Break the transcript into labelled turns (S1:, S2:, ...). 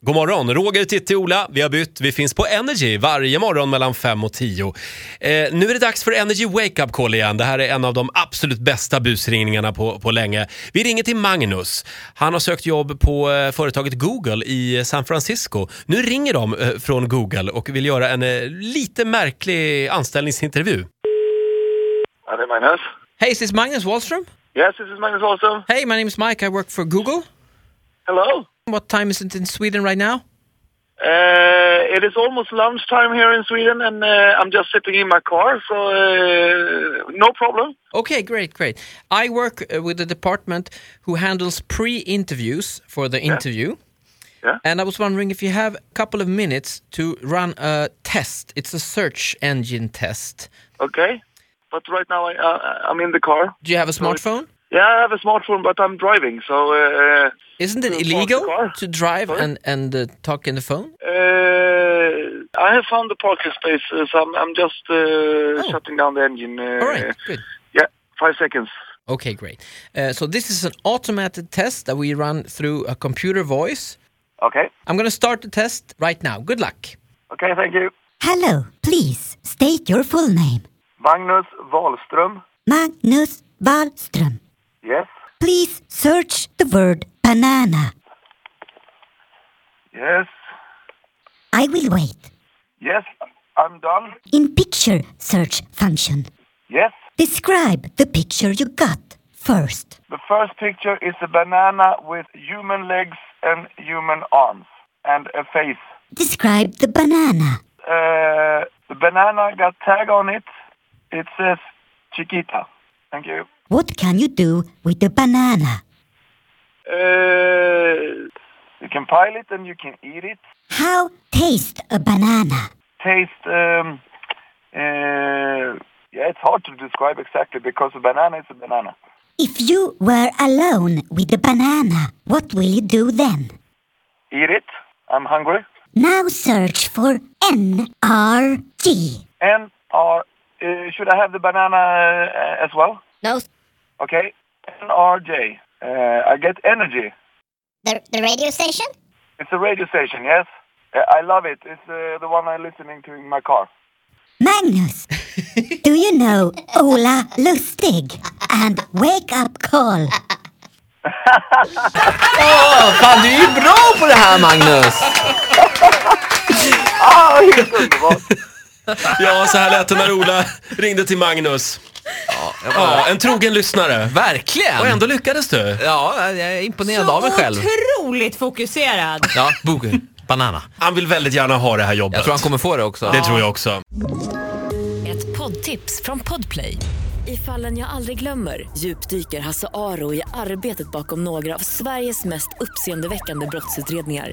S1: God morgon, Roger, Titti, Ola. Vi har bytt. Vi finns på Energy varje morgon mellan 5 och 10. Eh, nu är det dags för Energy Wake Up Call igen. Det här är en av de absolut bästa busringningarna på, på länge. Vi ringer till Magnus. Han har sökt jobb på eh, företaget Google i San Francisco. Nu ringer de eh, från Google och vill göra en eh, lite märklig anställningsintervju.
S2: Are they Magnus?
S3: Hey, is this Magnus Wallström?
S2: Yes, this is Magnus Wallström.
S3: Hey, my name is Mike. I work for Google.
S2: Hello.
S3: What time is it in Sweden right now?
S2: Uh, it is almost lunchtime here in Sweden, and uh, I'm just sitting in my car, so uh, no problem.
S3: Okay, great, great. I work uh, with the department who handles pre-interviews for the interview.
S2: Yeah.
S3: And I was wondering if you have a couple of minutes to run a test. It's a search engine test.
S2: Okay. But right now I, uh, I'm in the car.
S3: Do you have a smartphone?
S2: Yeah, I have a smartphone, but I'm driving, so uh,
S3: Isn't
S2: Uh,
S3: it
S2: park the
S3: illegal
S2: car.
S3: to drive
S2: Sorry?
S3: and and uh, talk in the phone?
S2: uh, I have found the parking space, uh, so I'm, I'm just uh, shutting down the engine. Uh,
S3: Oh. All right, good.
S2: Yeah, five seconds.
S3: Okay, great. Uh, so this is an automated test that we run through a computer voice.
S2: Okay.
S3: I'm going to start the test right now. Good luck.
S2: Okay, thank you.
S4: Hello, please state your full name.
S2: Magnus Wahlström.
S4: Magnus Wahlström.
S2: Yes.
S4: Please search the word banana.
S2: Yes.
S4: I will wait.
S2: Yes. I'm done.
S4: In picture search function,
S2: Yes.
S4: describe the picture you got first.
S2: The first picture is a banana with human legs and human arms and a face.
S4: Describe the banana.
S2: Uh, the banana got tag on it. It says Chiquita. Thank you.
S4: What can you do with the banana?
S2: Uh, you can pile it and you can eat it.
S4: How taste a banana?
S2: Taste. Um, uh, yeah, it's hard to describe exactly because a banana is a banana.
S4: If you were alone with the banana, what will you do then?
S2: Eat it. I'm hungry.
S4: Now search for NRG.
S2: And or uh, should I have the banana uh, as well?
S5: No,
S2: Okay. NRJ. Uh, I get energy.
S5: the, the radio station?
S2: It's a radio station, yes? Uh, I love it. It's uh, the one I'm listening to in my car.
S4: Magnus, do you know Ola Lustig and Wake Up Call?
S3: Fan, du är ju bra på det här Magnus!
S2: Ah, helt underbart!
S1: Ja, så här lät det när Ola ringde till Magnus. Ja, en trogen lyssnare. Och
S3: Verkligen!
S1: ändå lyckades du.
S3: Ja, jag är imponerad
S6: Så
S3: av mig själv.
S6: otroligt fokuserad.
S3: Ja, Booger. Banana.
S1: Han vill väldigt gärna ha det här jobbet.
S3: Jag tror han kommer få det också.
S1: Det tror jag också.
S7: Ett poddtips från Podplay. I fallen jag aldrig glömmer djupdyker Hasse Aro i arbetet bakom några av Sveriges mest uppseendeväckande brottsutredningar.